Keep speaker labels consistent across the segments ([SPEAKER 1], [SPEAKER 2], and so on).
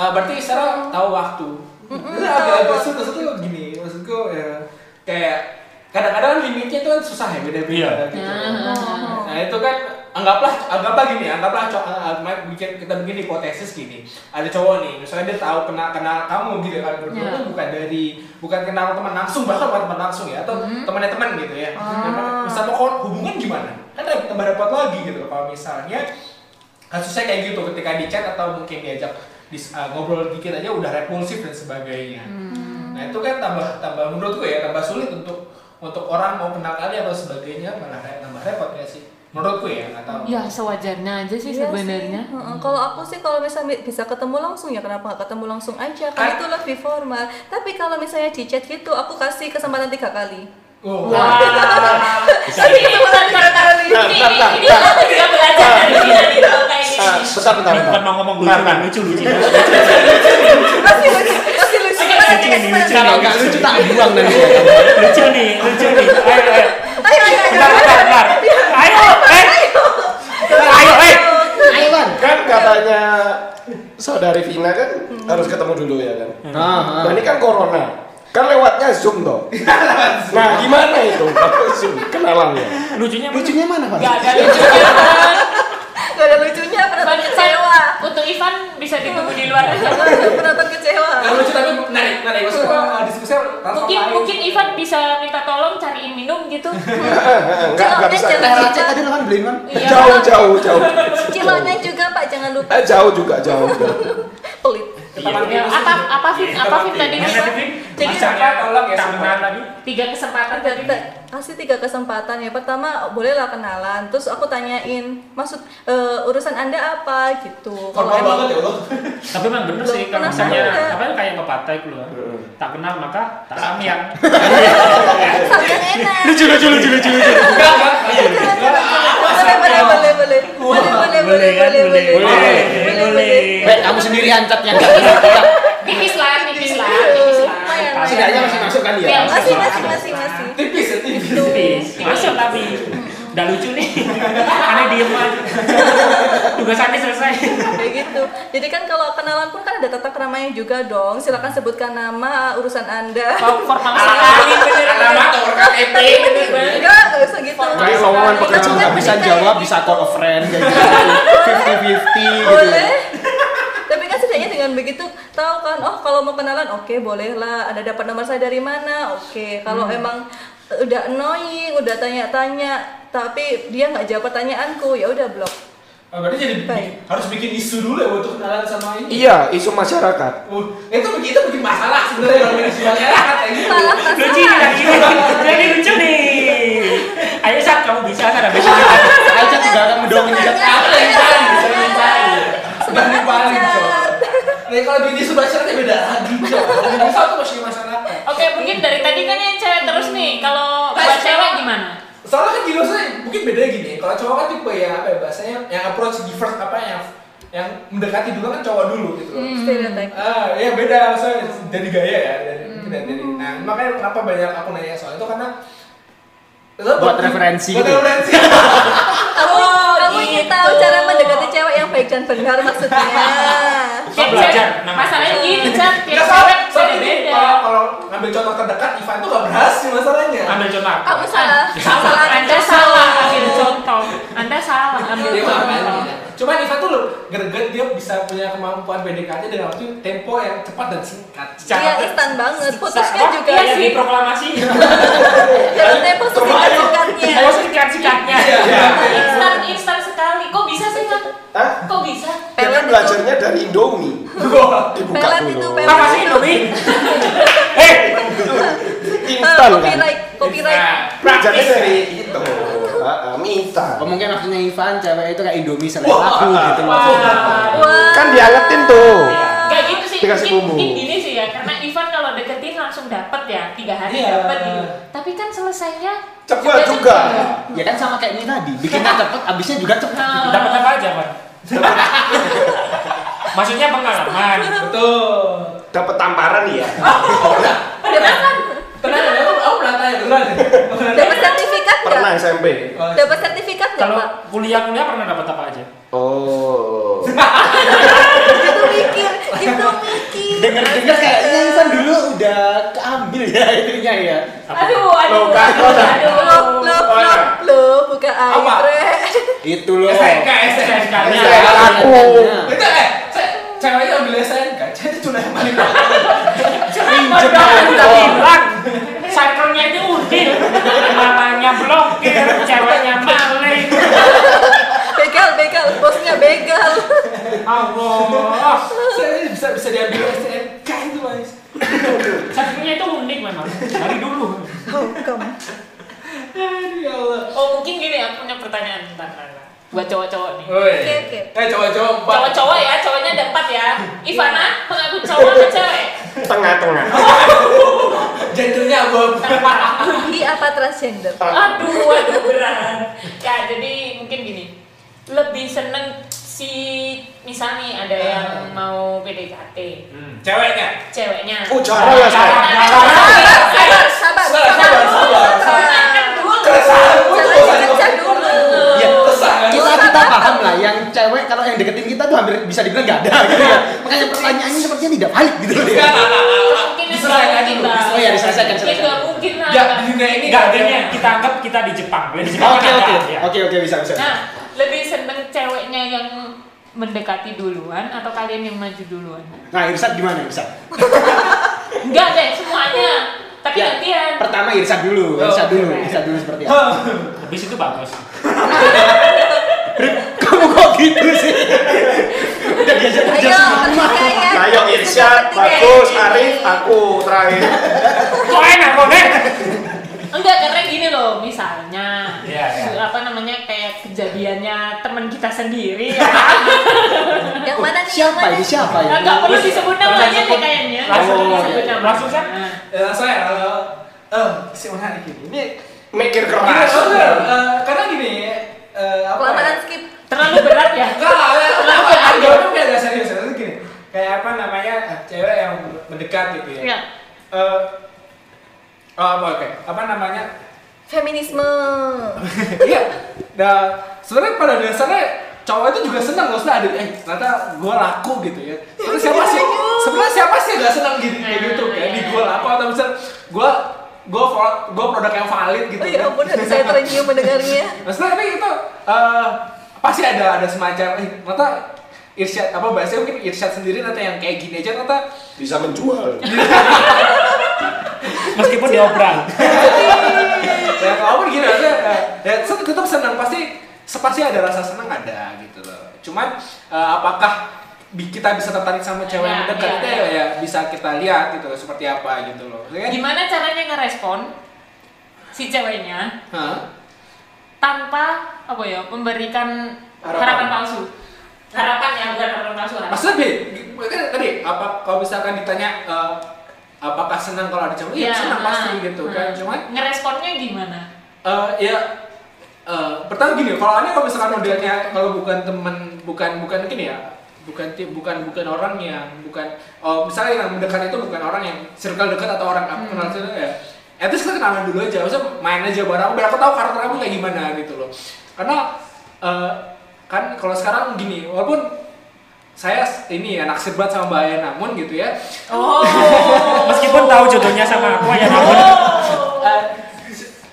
[SPEAKER 1] Ah,
[SPEAKER 2] berarti Sarah tahu waktu.
[SPEAKER 1] Ini agak-agak sulit, maksudku gini, maksudku ya kayak kadang-kadang limitnya itu kan susah ya beda-beda gitu.
[SPEAKER 3] Nah.
[SPEAKER 1] Nah
[SPEAKER 3] Oh.
[SPEAKER 1] itu kan anggaplah anggaplah gini, anggaplah co- uh, uh, bikin kita bikin hipotesis gini. Ada cowok nih, misalnya dia tahu kena kenal kamu gitu kan berdua
[SPEAKER 3] Ya.
[SPEAKER 1] kan bukan dari bukan kenal teman langsung bahkan bukan teman langsung ya atau
[SPEAKER 3] Mhm.
[SPEAKER 1] temannya teman gitu ya.
[SPEAKER 3] Ah.
[SPEAKER 1] Misal mau kon- hubungan gimana? Kan ada tambah repot lagi gitu kalau misalnya kasusnya kayak gitu ketika di chat atau mungkin diajak dis- uh, ngobrol dikit aja udah repulsif dan sebagainya.
[SPEAKER 3] Hmm.
[SPEAKER 1] Nah itu kan tambah tambah menurutku ya tambah sulit untuk untuk orang mau kenal kalian atau sebagainya malah re- tambah repot ya sih menurutku ya nggak tahu.
[SPEAKER 3] Ya sewajarnya aja sih
[SPEAKER 4] Iya
[SPEAKER 3] sebenarnya.
[SPEAKER 4] sih. Heeh, Kalau aku sih kalau misalnya bisa ketemu langsung ya kenapa nggak ketemu langsung aja? Karena
[SPEAKER 1] Kan-
[SPEAKER 4] itu lebih formal. Tapi kalau misalnya di chat gitu, aku kasih kesempatan tiga kali.
[SPEAKER 1] Oh,
[SPEAKER 3] Wah.
[SPEAKER 5] Bisa
[SPEAKER 3] Ini
[SPEAKER 5] ini.
[SPEAKER 3] kebetulan karena ini
[SPEAKER 6] Bentar,
[SPEAKER 3] ini
[SPEAKER 6] bentar,
[SPEAKER 3] ini aku juga belajar dari dia gitu kayak
[SPEAKER 6] Ah,
[SPEAKER 3] gini.
[SPEAKER 6] bentar, bentar,
[SPEAKER 5] Ini bukan
[SPEAKER 6] bentar.
[SPEAKER 5] mau ngomong
[SPEAKER 6] Bentar,
[SPEAKER 5] lucu,
[SPEAKER 6] bentar.
[SPEAKER 5] lucu, lucu, lucu.
[SPEAKER 4] Kasih lucu, kasih lucu.
[SPEAKER 3] Oke,
[SPEAKER 4] Kasih
[SPEAKER 5] lucu
[SPEAKER 4] lucu.
[SPEAKER 5] nih, lucu
[SPEAKER 6] Kalau
[SPEAKER 5] nih,
[SPEAKER 6] nggak
[SPEAKER 5] lucu
[SPEAKER 6] lucu
[SPEAKER 5] nih.
[SPEAKER 6] tak buang nanti.
[SPEAKER 5] Lucu nih, lucu nih. Ayo, ayo.
[SPEAKER 4] Ayo, ayo, ayo.
[SPEAKER 5] Bentar, bentar, bentar. Ayo, eh. Ayo, eh.
[SPEAKER 6] Ayo Wan. Kan katanya saudari Vina kan harus ketemu dulu ya kan. Nah ini kan corona. Kan lewatnya Zoom toh. nah gimana itu kalau Zoom kenalannya?
[SPEAKER 5] Lucunya mana?
[SPEAKER 6] Lucunya mana Wan?
[SPEAKER 3] Gak ada lucunya.
[SPEAKER 4] Gak ada lucunya, penonton
[SPEAKER 3] Bagi saya
[SPEAKER 4] kecewa.
[SPEAKER 3] untuk Ivan bisa ditunggu di luar aja.
[SPEAKER 4] Iya. Penonton kecewa.
[SPEAKER 1] nggak lucu tapi menarik menarik maksudku uh, diskusinya langsung
[SPEAKER 3] Mungkin
[SPEAKER 1] lain.
[SPEAKER 3] mungkin Ivan bisa minta tolong cariin minum gitu.
[SPEAKER 6] Enggak, enggak bisa.
[SPEAKER 4] Ciloknya jangan
[SPEAKER 6] Nah, cek
[SPEAKER 4] lupa.
[SPEAKER 6] tadi lawan beliin kan?
[SPEAKER 3] Iya.
[SPEAKER 6] Jauh, jauh, jauh.
[SPEAKER 4] Ciloknya juga Pak, jangan lupa.
[SPEAKER 6] Eh, jauh juga, jauh. jauh.
[SPEAKER 4] Pelit.
[SPEAKER 1] Teman
[SPEAKER 3] Ya,
[SPEAKER 1] aku
[SPEAKER 3] apa
[SPEAKER 1] tuh-
[SPEAKER 3] apa Vin? Apa Vin tadi
[SPEAKER 5] Mana
[SPEAKER 3] lupa?
[SPEAKER 5] tadi?
[SPEAKER 3] Jadi
[SPEAKER 1] Mas Jaka, tolong ya
[SPEAKER 5] Tangan
[SPEAKER 1] semua.
[SPEAKER 5] lagi.
[SPEAKER 3] tiga kesempatan
[SPEAKER 4] Kita-
[SPEAKER 3] tadi.
[SPEAKER 4] kita kasih tiga kesempatan ya pertama bolehlah kenalan terus aku tanyain maksud eh, urusan anda apa gitu Kalau
[SPEAKER 1] formal
[SPEAKER 4] emang-
[SPEAKER 1] banget ya lo
[SPEAKER 5] Tapi emang bener sih,
[SPEAKER 4] Belum
[SPEAKER 5] kalau
[SPEAKER 4] pernah
[SPEAKER 5] misalnya,
[SPEAKER 4] ada.
[SPEAKER 5] apa yang kayak pepatah itu loh. Tak kenal maka tak samyang.
[SPEAKER 4] Sambil enak Iya,
[SPEAKER 5] Lucu, lucu, lucu, lucu, lucu.
[SPEAKER 1] enggak enggak
[SPEAKER 4] boleh boleh boleh boleh boleh boleh boleh
[SPEAKER 5] Boleh kan?
[SPEAKER 4] boleh boleh
[SPEAKER 5] Boleh,
[SPEAKER 4] boleh
[SPEAKER 5] boleh.
[SPEAKER 4] boleh.
[SPEAKER 6] Baik, kamu sendiri ancatnya enggak benar.
[SPEAKER 3] Tipis lah, tipis lah, tipis lah.
[SPEAKER 4] Lumayan,
[SPEAKER 6] Setidaknya
[SPEAKER 4] lumayan.
[SPEAKER 6] masih masuk kan
[SPEAKER 3] Iya,
[SPEAKER 6] ya?
[SPEAKER 4] masih masih masih masih
[SPEAKER 1] tipis ya tipis
[SPEAKER 4] Gitu.
[SPEAKER 5] Tipis, masuk tapi. Udah lucu nih. Aneh diem aja. Tugasannya selesai.
[SPEAKER 4] kayak gitu jadi kan kalau kenalan pun kan ada tata keramanya juga dong silakan sebutkan nama urusan anda
[SPEAKER 3] Kalau formal sekali.
[SPEAKER 1] alamat alamat nomor KTP
[SPEAKER 4] enggak enggak usah gitu
[SPEAKER 6] Kayak lowongan pekerjaan
[SPEAKER 4] Tapi
[SPEAKER 6] nggak
[SPEAKER 4] kan
[SPEAKER 6] bisa
[SPEAKER 4] kita-
[SPEAKER 6] jawab, bisa call a friend kayak gitu. Fifty fifty gitu.
[SPEAKER 4] boleh tapi kan setidaknya dengan begitu tahu kan oh kalau mau kenalan oke boleh lah ada dapat nomor saya dari mana oke kalau
[SPEAKER 6] Hmm.
[SPEAKER 4] emang udah annoying udah tanya-tanya tapi dia nggak jawab pertanyaanku ya udah blok
[SPEAKER 1] Oh, berarti jadi
[SPEAKER 4] Baik.
[SPEAKER 1] harus bikin isu dulu ya untuk kenalan sama ini
[SPEAKER 6] Iya, isu masyarakat.
[SPEAKER 1] Uh, itu begitu bikin masalah sebenarnya kalau bikin masalah kayak gitu.
[SPEAKER 4] salah
[SPEAKER 5] Lucu nih lagi. Jadi lucu nih. Ayo saat kamu bisa, Sarah bisa.
[SPEAKER 6] Aja juga akan mendongeng
[SPEAKER 4] Semangat.
[SPEAKER 6] juga.
[SPEAKER 1] Apa yang paling bisa yang paling? Sebenarnya yang paling
[SPEAKER 4] Semangat.
[SPEAKER 1] cowok. Nah kalau bikin isu masyarakatnya beda lagi cowok. Bikin isu tuh masih masyarakat.
[SPEAKER 3] Oke, mungkin dari tadi kan yang cewek terus nih. Kalau buat
[SPEAKER 1] Pasti.
[SPEAKER 3] cewek gimana?
[SPEAKER 1] Soalnya kan gini maksudnya mungkin beda gini. ya. Kalau cowok kan tipe ya apa ya bahasanya yang approach givers apa ya, yang yang mendekati dulu kan cowok dulu gitu
[SPEAKER 4] Hmm.
[SPEAKER 1] loh.
[SPEAKER 4] Stereotype.
[SPEAKER 1] Ah, ya beda soalnya dari gaya ya dari dari, dari nah makanya kenapa banyak aku nanya soal itu karena
[SPEAKER 6] Buat referensi
[SPEAKER 1] buat
[SPEAKER 6] gitu.
[SPEAKER 1] referensi
[SPEAKER 6] Oh,
[SPEAKER 4] kamu kamu ingin
[SPEAKER 3] gitu.
[SPEAKER 4] tahu cara mendekati cewek yang baik dan benar maksudnya
[SPEAKER 5] Kita belajar,
[SPEAKER 3] Cewek-
[SPEAKER 5] nama.
[SPEAKER 3] Masalahnya gitu, Chan.
[SPEAKER 1] Nggak
[SPEAKER 3] Tiap cewek
[SPEAKER 1] salah, soalnya gini,
[SPEAKER 3] beda-beda.
[SPEAKER 1] kalau kalau ngambil contoh terdekat Ivan tuh gak berhasil masalahnya.
[SPEAKER 5] Ambil contoh.
[SPEAKER 4] kamu salah salah
[SPEAKER 3] Anda salah ambil contoh. Anda salah ambil
[SPEAKER 1] Dia
[SPEAKER 3] contoh.
[SPEAKER 1] makanya. Cuman Iya. Ivan tuh loh, greget dia bisa punya kemampuan PDKT dengan waktu tempo yang cepat dan singkat.
[SPEAKER 4] Iya instan banget putusnya
[SPEAKER 5] Apa?
[SPEAKER 4] juga ya.
[SPEAKER 5] Iya
[SPEAKER 4] sih
[SPEAKER 5] sih.
[SPEAKER 6] gitu.
[SPEAKER 5] Proklamasi.
[SPEAKER 6] Iya,
[SPEAKER 4] kalau tempo singkat-singkatnya
[SPEAKER 5] Mau sikat-sikatnya.
[SPEAKER 1] Iya.
[SPEAKER 3] Instan, instan sekali. Kok bisa sih, Chan?
[SPEAKER 6] Hah?
[SPEAKER 3] Kok bisa?
[SPEAKER 6] Dia kan belajarnya dari Indomie. Dibuka
[SPEAKER 4] Pelet itu,
[SPEAKER 6] dulu.
[SPEAKER 4] pelet.
[SPEAKER 5] Apa sih Indomie? Eh,
[SPEAKER 6] Instan kan?
[SPEAKER 4] copyright copyright
[SPEAKER 5] Nah,
[SPEAKER 6] Belajarnya dari itu. Ah, ah, Mita.
[SPEAKER 7] Oh, mungkin maksudnya Ivan cewek itu kayak Indomie selain
[SPEAKER 1] Wah.
[SPEAKER 7] aku gitu loh.
[SPEAKER 4] wah
[SPEAKER 6] Kan diangetin tuh.
[SPEAKER 3] Gak gitu sih,
[SPEAKER 6] Dikasih
[SPEAKER 3] mungkin,
[SPEAKER 6] bumbu.
[SPEAKER 3] mungkin gini sih ya, karena Ivan kalau deketin langsung dapat ya, tiga hari
[SPEAKER 1] Iya.
[SPEAKER 3] dapat gitu. Tapi kan selesainya
[SPEAKER 6] Cepat juga.
[SPEAKER 7] Ya kan sama kayak ini tadi, bikinnya cepet, abisnya juga cepet.
[SPEAKER 3] Nah,
[SPEAKER 5] dapat apa aja, Pak? Maksudnya pengalaman.
[SPEAKER 1] Betul.
[SPEAKER 6] Dapat tamparan ya.
[SPEAKER 1] Tenang, ya, aku aku pernah tanya beneran.
[SPEAKER 4] dapat sertifikat
[SPEAKER 6] Pernah
[SPEAKER 4] nggak
[SPEAKER 6] SMP.
[SPEAKER 4] dapat sertifikat nggak
[SPEAKER 5] Kalau
[SPEAKER 4] pak
[SPEAKER 5] kuliah-kuliah pernah dapat apa aja?
[SPEAKER 6] Oh.
[SPEAKER 4] gitu mikir gitu mikir
[SPEAKER 7] ya
[SPEAKER 4] Loh, loh, loh, loh, buka
[SPEAKER 1] Apa?
[SPEAKER 4] air.
[SPEAKER 7] Itu loh.
[SPEAKER 1] SNK SNK
[SPEAKER 6] Iya,
[SPEAKER 5] SNK-nya.
[SPEAKER 1] SNK.
[SPEAKER 6] aku.
[SPEAKER 1] itu eh ce- ceweknya ambil SNK jadi cuma yang paling
[SPEAKER 5] Pinjem kan udah bilang Cycle-nya itu udin Mamanya blokir Ceweknya maling
[SPEAKER 4] Begal, begal, bosnya begal.
[SPEAKER 5] Allah
[SPEAKER 1] Saya bisa bisa diambil SNK itu guys
[SPEAKER 5] Cycle-nya itu unik memang Dari dulu
[SPEAKER 4] Hukum.
[SPEAKER 1] aduh ya Allah
[SPEAKER 3] Oh mungkin gini aku punya pertanyaan tentang Rara. Buat cowok-cowok nih.
[SPEAKER 1] Woi.
[SPEAKER 4] Oke, oke.
[SPEAKER 1] Eh cowok-cowok empat.
[SPEAKER 3] Cowok-cowok ya, cowoknya ada empat ya. Ivana, mengaku cowok atau cewek?
[SPEAKER 6] Tengah-tengah.
[SPEAKER 7] Oh,
[SPEAKER 1] Gendernya abu-abu.
[SPEAKER 4] Bi apa transgender?
[SPEAKER 3] Aduh, aduh berat. Ya jadi mungkin gini, lebih seneng si misalnya nih ada yang mau PDKT,
[SPEAKER 1] Ah. Hmm, Ceweknya.
[SPEAKER 3] ceweknya.
[SPEAKER 6] Oh, cara ya saya.
[SPEAKER 4] Sabar,
[SPEAKER 1] Sabar,
[SPEAKER 4] sabar,
[SPEAKER 1] sabar, sabar.
[SPEAKER 3] Soalnya kan dulu.
[SPEAKER 1] Keresahanmu tuh
[SPEAKER 4] Jangan
[SPEAKER 1] bukan
[SPEAKER 4] dikejar dulu.
[SPEAKER 7] Ya,
[SPEAKER 1] Kesah kan?
[SPEAKER 7] kita kita paham lah yang cewek kalau yang deketin kita tuh hampir bisa dibilang gak ada gitu ya. Makanya pertanyaannya sepertinya tidak valid gitu loh.
[SPEAKER 1] Enggak, enggak, enggak,
[SPEAKER 3] Terus
[SPEAKER 1] enggak.
[SPEAKER 3] mungkin yang nggak
[SPEAKER 1] Diselesaikan
[SPEAKER 3] mungkin
[SPEAKER 1] dulu. Iya,
[SPEAKER 3] lah.
[SPEAKER 7] Oh ya, diselesaikan,
[SPEAKER 3] Mungkin nggak
[SPEAKER 7] selesaikan.
[SPEAKER 3] mungkin lah.
[SPEAKER 1] Ya, di dunia ini
[SPEAKER 5] Gak
[SPEAKER 1] nggak
[SPEAKER 5] ada
[SPEAKER 1] ada
[SPEAKER 5] yang kita anggap kita di Jepang Di Jepang
[SPEAKER 7] Oke
[SPEAKER 5] kan
[SPEAKER 7] oke.
[SPEAKER 5] ada, ya.
[SPEAKER 7] Oke oke bisa bisa.
[SPEAKER 3] Nah, lebih seneng ceweknya yang mendekati duluan atau kalian yang maju duluan?
[SPEAKER 7] Nah, Irsan gimana Irsan?
[SPEAKER 3] Enggak deh, semuanya. Tapi
[SPEAKER 7] Ya,
[SPEAKER 3] gantian.
[SPEAKER 7] Pertama Irsan dulu,
[SPEAKER 1] Oh,
[SPEAKER 7] Irsan dulu,
[SPEAKER 1] oke.
[SPEAKER 7] Irsan dulu seperti apa?
[SPEAKER 1] Hah.
[SPEAKER 5] Habis itu bagus
[SPEAKER 7] Kamu kok gitu sih? Udah diajak kerja
[SPEAKER 4] Ayo, ya.
[SPEAKER 7] sama.
[SPEAKER 4] pertigaan.
[SPEAKER 6] Ayo Irsyad, bagus, Arif, aku terakhir.
[SPEAKER 5] Kok enak eh? kok enak
[SPEAKER 3] Enggak, karena gini loh, misalnya
[SPEAKER 5] Iya, iya.
[SPEAKER 3] su- apa namanya kayak kejadiannya teman kita sendiri ya.
[SPEAKER 4] Yang mana nih? yang
[SPEAKER 7] Siapa
[SPEAKER 4] mana?
[SPEAKER 7] ini siapa ya?
[SPEAKER 3] Enggak perlu disebut namanya
[SPEAKER 5] Langsung-
[SPEAKER 3] nih kayaknya.
[SPEAKER 5] langsung-
[SPEAKER 3] Nggak perlu disebut nama.
[SPEAKER 5] langsung, kan? Sam.
[SPEAKER 3] Nah,
[SPEAKER 1] Ya, saya kalau eh si menarik ini. Ini
[SPEAKER 6] Mikir
[SPEAKER 1] Gini,
[SPEAKER 6] keras.
[SPEAKER 1] bener, eh, karena gini eh, apa ya?
[SPEAKER 4] Kelamaan skip.
[SPEAKER 3] Terlalu berat ya.
[SPEAKER 1] Enggak, enggak, kenapa ya? Jawabnya kayak gak serius, serius gini. Kayak apa namanya eh, cewek yang mendekat gitu ya.
[SPEAKER 3] Iya.
[SPEAKER 1] Eh, oh, apa oke. Apa namanya?
[SPEAKER 4] Feminisme.
[SPEAKER 1] Iya. Nah, sebenarnya pada dasarnya cowok itu juga senang loh, maksudnya ada eh ternyata gue laku gitu ya. Terus siapa sih? Sebenarnya siapa sih yang gak senang gitu kayak gitu ya? Di gue laku atau misal gue gue gue produk yang valid gitu.
[SPEAKER 4] Oh ya
[SPEAKER 1] kan.
[SPEAKER 4] ampun, hati saya terenyuh mendengarnya.
[SPEAKER 1] Maksudnya tapi itu eh, pasti ada ada semacam eh ternyata irsyad apa bahasanya mungkin irsyad sendiri ternyata yang kayak gini aja ternyata
[SPEAKER 6] Bisa menjual.
[SPEAKER 5] Meskipun diobral
[SPEAKER 1] ya kalau gini aja eh, ya set- tetap senang pasti sepasti ada rasa senang ada gitu loh cuman eh, apakah bi- kita bisa tertarik sama cewek yang
[SPEAKER 3] Ya,
[SPEAKER 1] dekat
[SPEAKER 3] ya,
[SPEAKER 1] itu ya, ya bisa kita lihat gitu loh seperti apa gitu loh Maksudnya,
[SPEAKER 3] Iya. Gimana caranya ngerespon si ceweknya
[SPEAKER 1] Hah?
[SPEAKER 3] tanpa apa ya memberikan
[SPEAKER 1] Harapan.
[SPEAKER 3] harapan, palsu? Harapan ya bukan harapan palsu. harapan.
[SPEAKER 1] maksudnya bi kan tadi apa kalau misalkan ditanya eh, apakah senang kalau ada cewek
[SPEAKER 5] iya,
[SPEAKER 1] ya, senang pasti
[SPEAKER 3] ah,
[SPEAKER 1] gitu
[SPEAKER 3] ah.
[SPEAKER 1] kan cuman
[SPEAKER 3] ngeresponnya gimana?
[SPEAKER 1] Eh, ya eh, pertama gini kalau ini kalau misalkan modelnya kalau bukan temen bukan bukan gini ya bukan ti- bukan bukan orang yang bukan oh misalnya yang mendekat itu bukan orang yang circle dekat atau orang aku kenal itu ya at least kita kenalan dulu aja maksudnya main aja bareng biar aku tahu karakter kamu kayak gimana gitu loh karena eh, kan kalau sekarang gini walaupun saya ini ya naksir banget sama Mbak Aya namun gitu ya
[SPEAKER 3] Oh.
[SPEAKER 5] Meskipun tahu jodohnya sama aku ya namun
[SPEAKER 1] eh,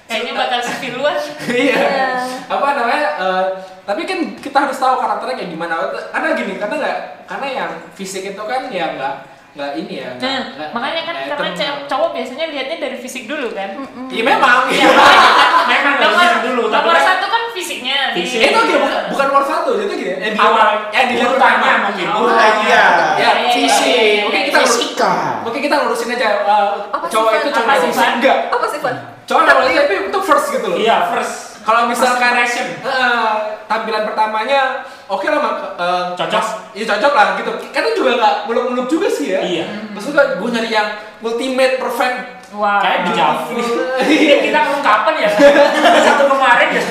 [SPEAKER 3] Kayaknya bakal sepi luas.
[SPEAKER 4] Iya.
[SPEAKER 1] iya apa namanya eh, tapi kan kita harus tahu karakternya kayak gimana karena gini karena nggak karena yang fisik itu kan ya nggak nggak ini ya nggak-
[SPEAKER 3] Nah,
[SPEAKER 1] nggak-
[SPEAKER 3] makanya kan
[SPEAKER 1] nggak
[SPEAKER 3] karena
[SPEAKER 1] item.
[SPEAKER 3] cewek- cowok biasanya lihatnya dari fisik dulu kan. Nah,
[SPEAKER 1] iya memang iya
[SPEAKER 5] Memang harus
[SPEAKER 3] Nomor,
[SPEAKER 5] dilihat dulu Tapi
[SPEAKER 3] nomor
[SPEAKER 5] kan
[SPEAKER 3] satu kan fisiknya. di-
[SPEAKER 5] Fisik.
[SPEAKER 1] itu gini, bukan bukan nomor satu itu gini yang di
[SPEAKER 5] awal
[SPEAKER 1] yang
[SPEAKER 5] yang
[SPEAKER 1] dilihat
[SPEAKER 5] diurutannya
[SPEAKER 1] pertama
[SPEAKER 5] ya, mungkin
[SPEAKER 3] Oh.
[SPEAKER 5] urutannya.
[SPEAKER 6] iya.
[SPEAKER 1] ya
[SPEAKER 3] Iya, iya, iya,
[SPEAKER 1] fisik
[SPEAKER 3] iya,
[SPEAKER 1] mungkin
[SPEAKER 3] iya.
[SPEAKER 1] kita lurus-
[SPEAKER 6] Fisika.
[SPEAKER 1] mungkin kita lurusin aja eh,
[SPEAKER 4] Apa
[SPEAKER 1] cowok
[SPEAKER 4] sifat?
[SPEAKER 1] itu cowok
[SPEAKER 3] Apa
[SPEAKER 1] yang
[SPEAKER 3] sifat?
[SPEAKER 1] fisik enggak
[SPEAKER 4] Apa sih, Fon?
[SPEAKER 1] cowok namanya tapi itu first gitu loh
[SPEAKER 5] Iya, first
[SPEAKER 1] kalau misalkan
[SPEAKER 5] First impression.
[SPEAKER 1] eh, tampilan pertamanya oke lah mak eh,
[SPEAKER 5] Cocok.
[SPEAKER 1] mas- iya cocok lah gitu karena juga nggak muluk-muluk juga sih ya
[SPEAKER 5] Iya.
[SPEAKER 1] maksudnya gue nyari yang ultimate perfect
[SPEAKER 3] Wah.
[SPEAKER 5] Kayak di Javu
[SPEAKER 1] Iya.
[SPEAKER 5] Kita kelengkapan ya Satu kemarin ya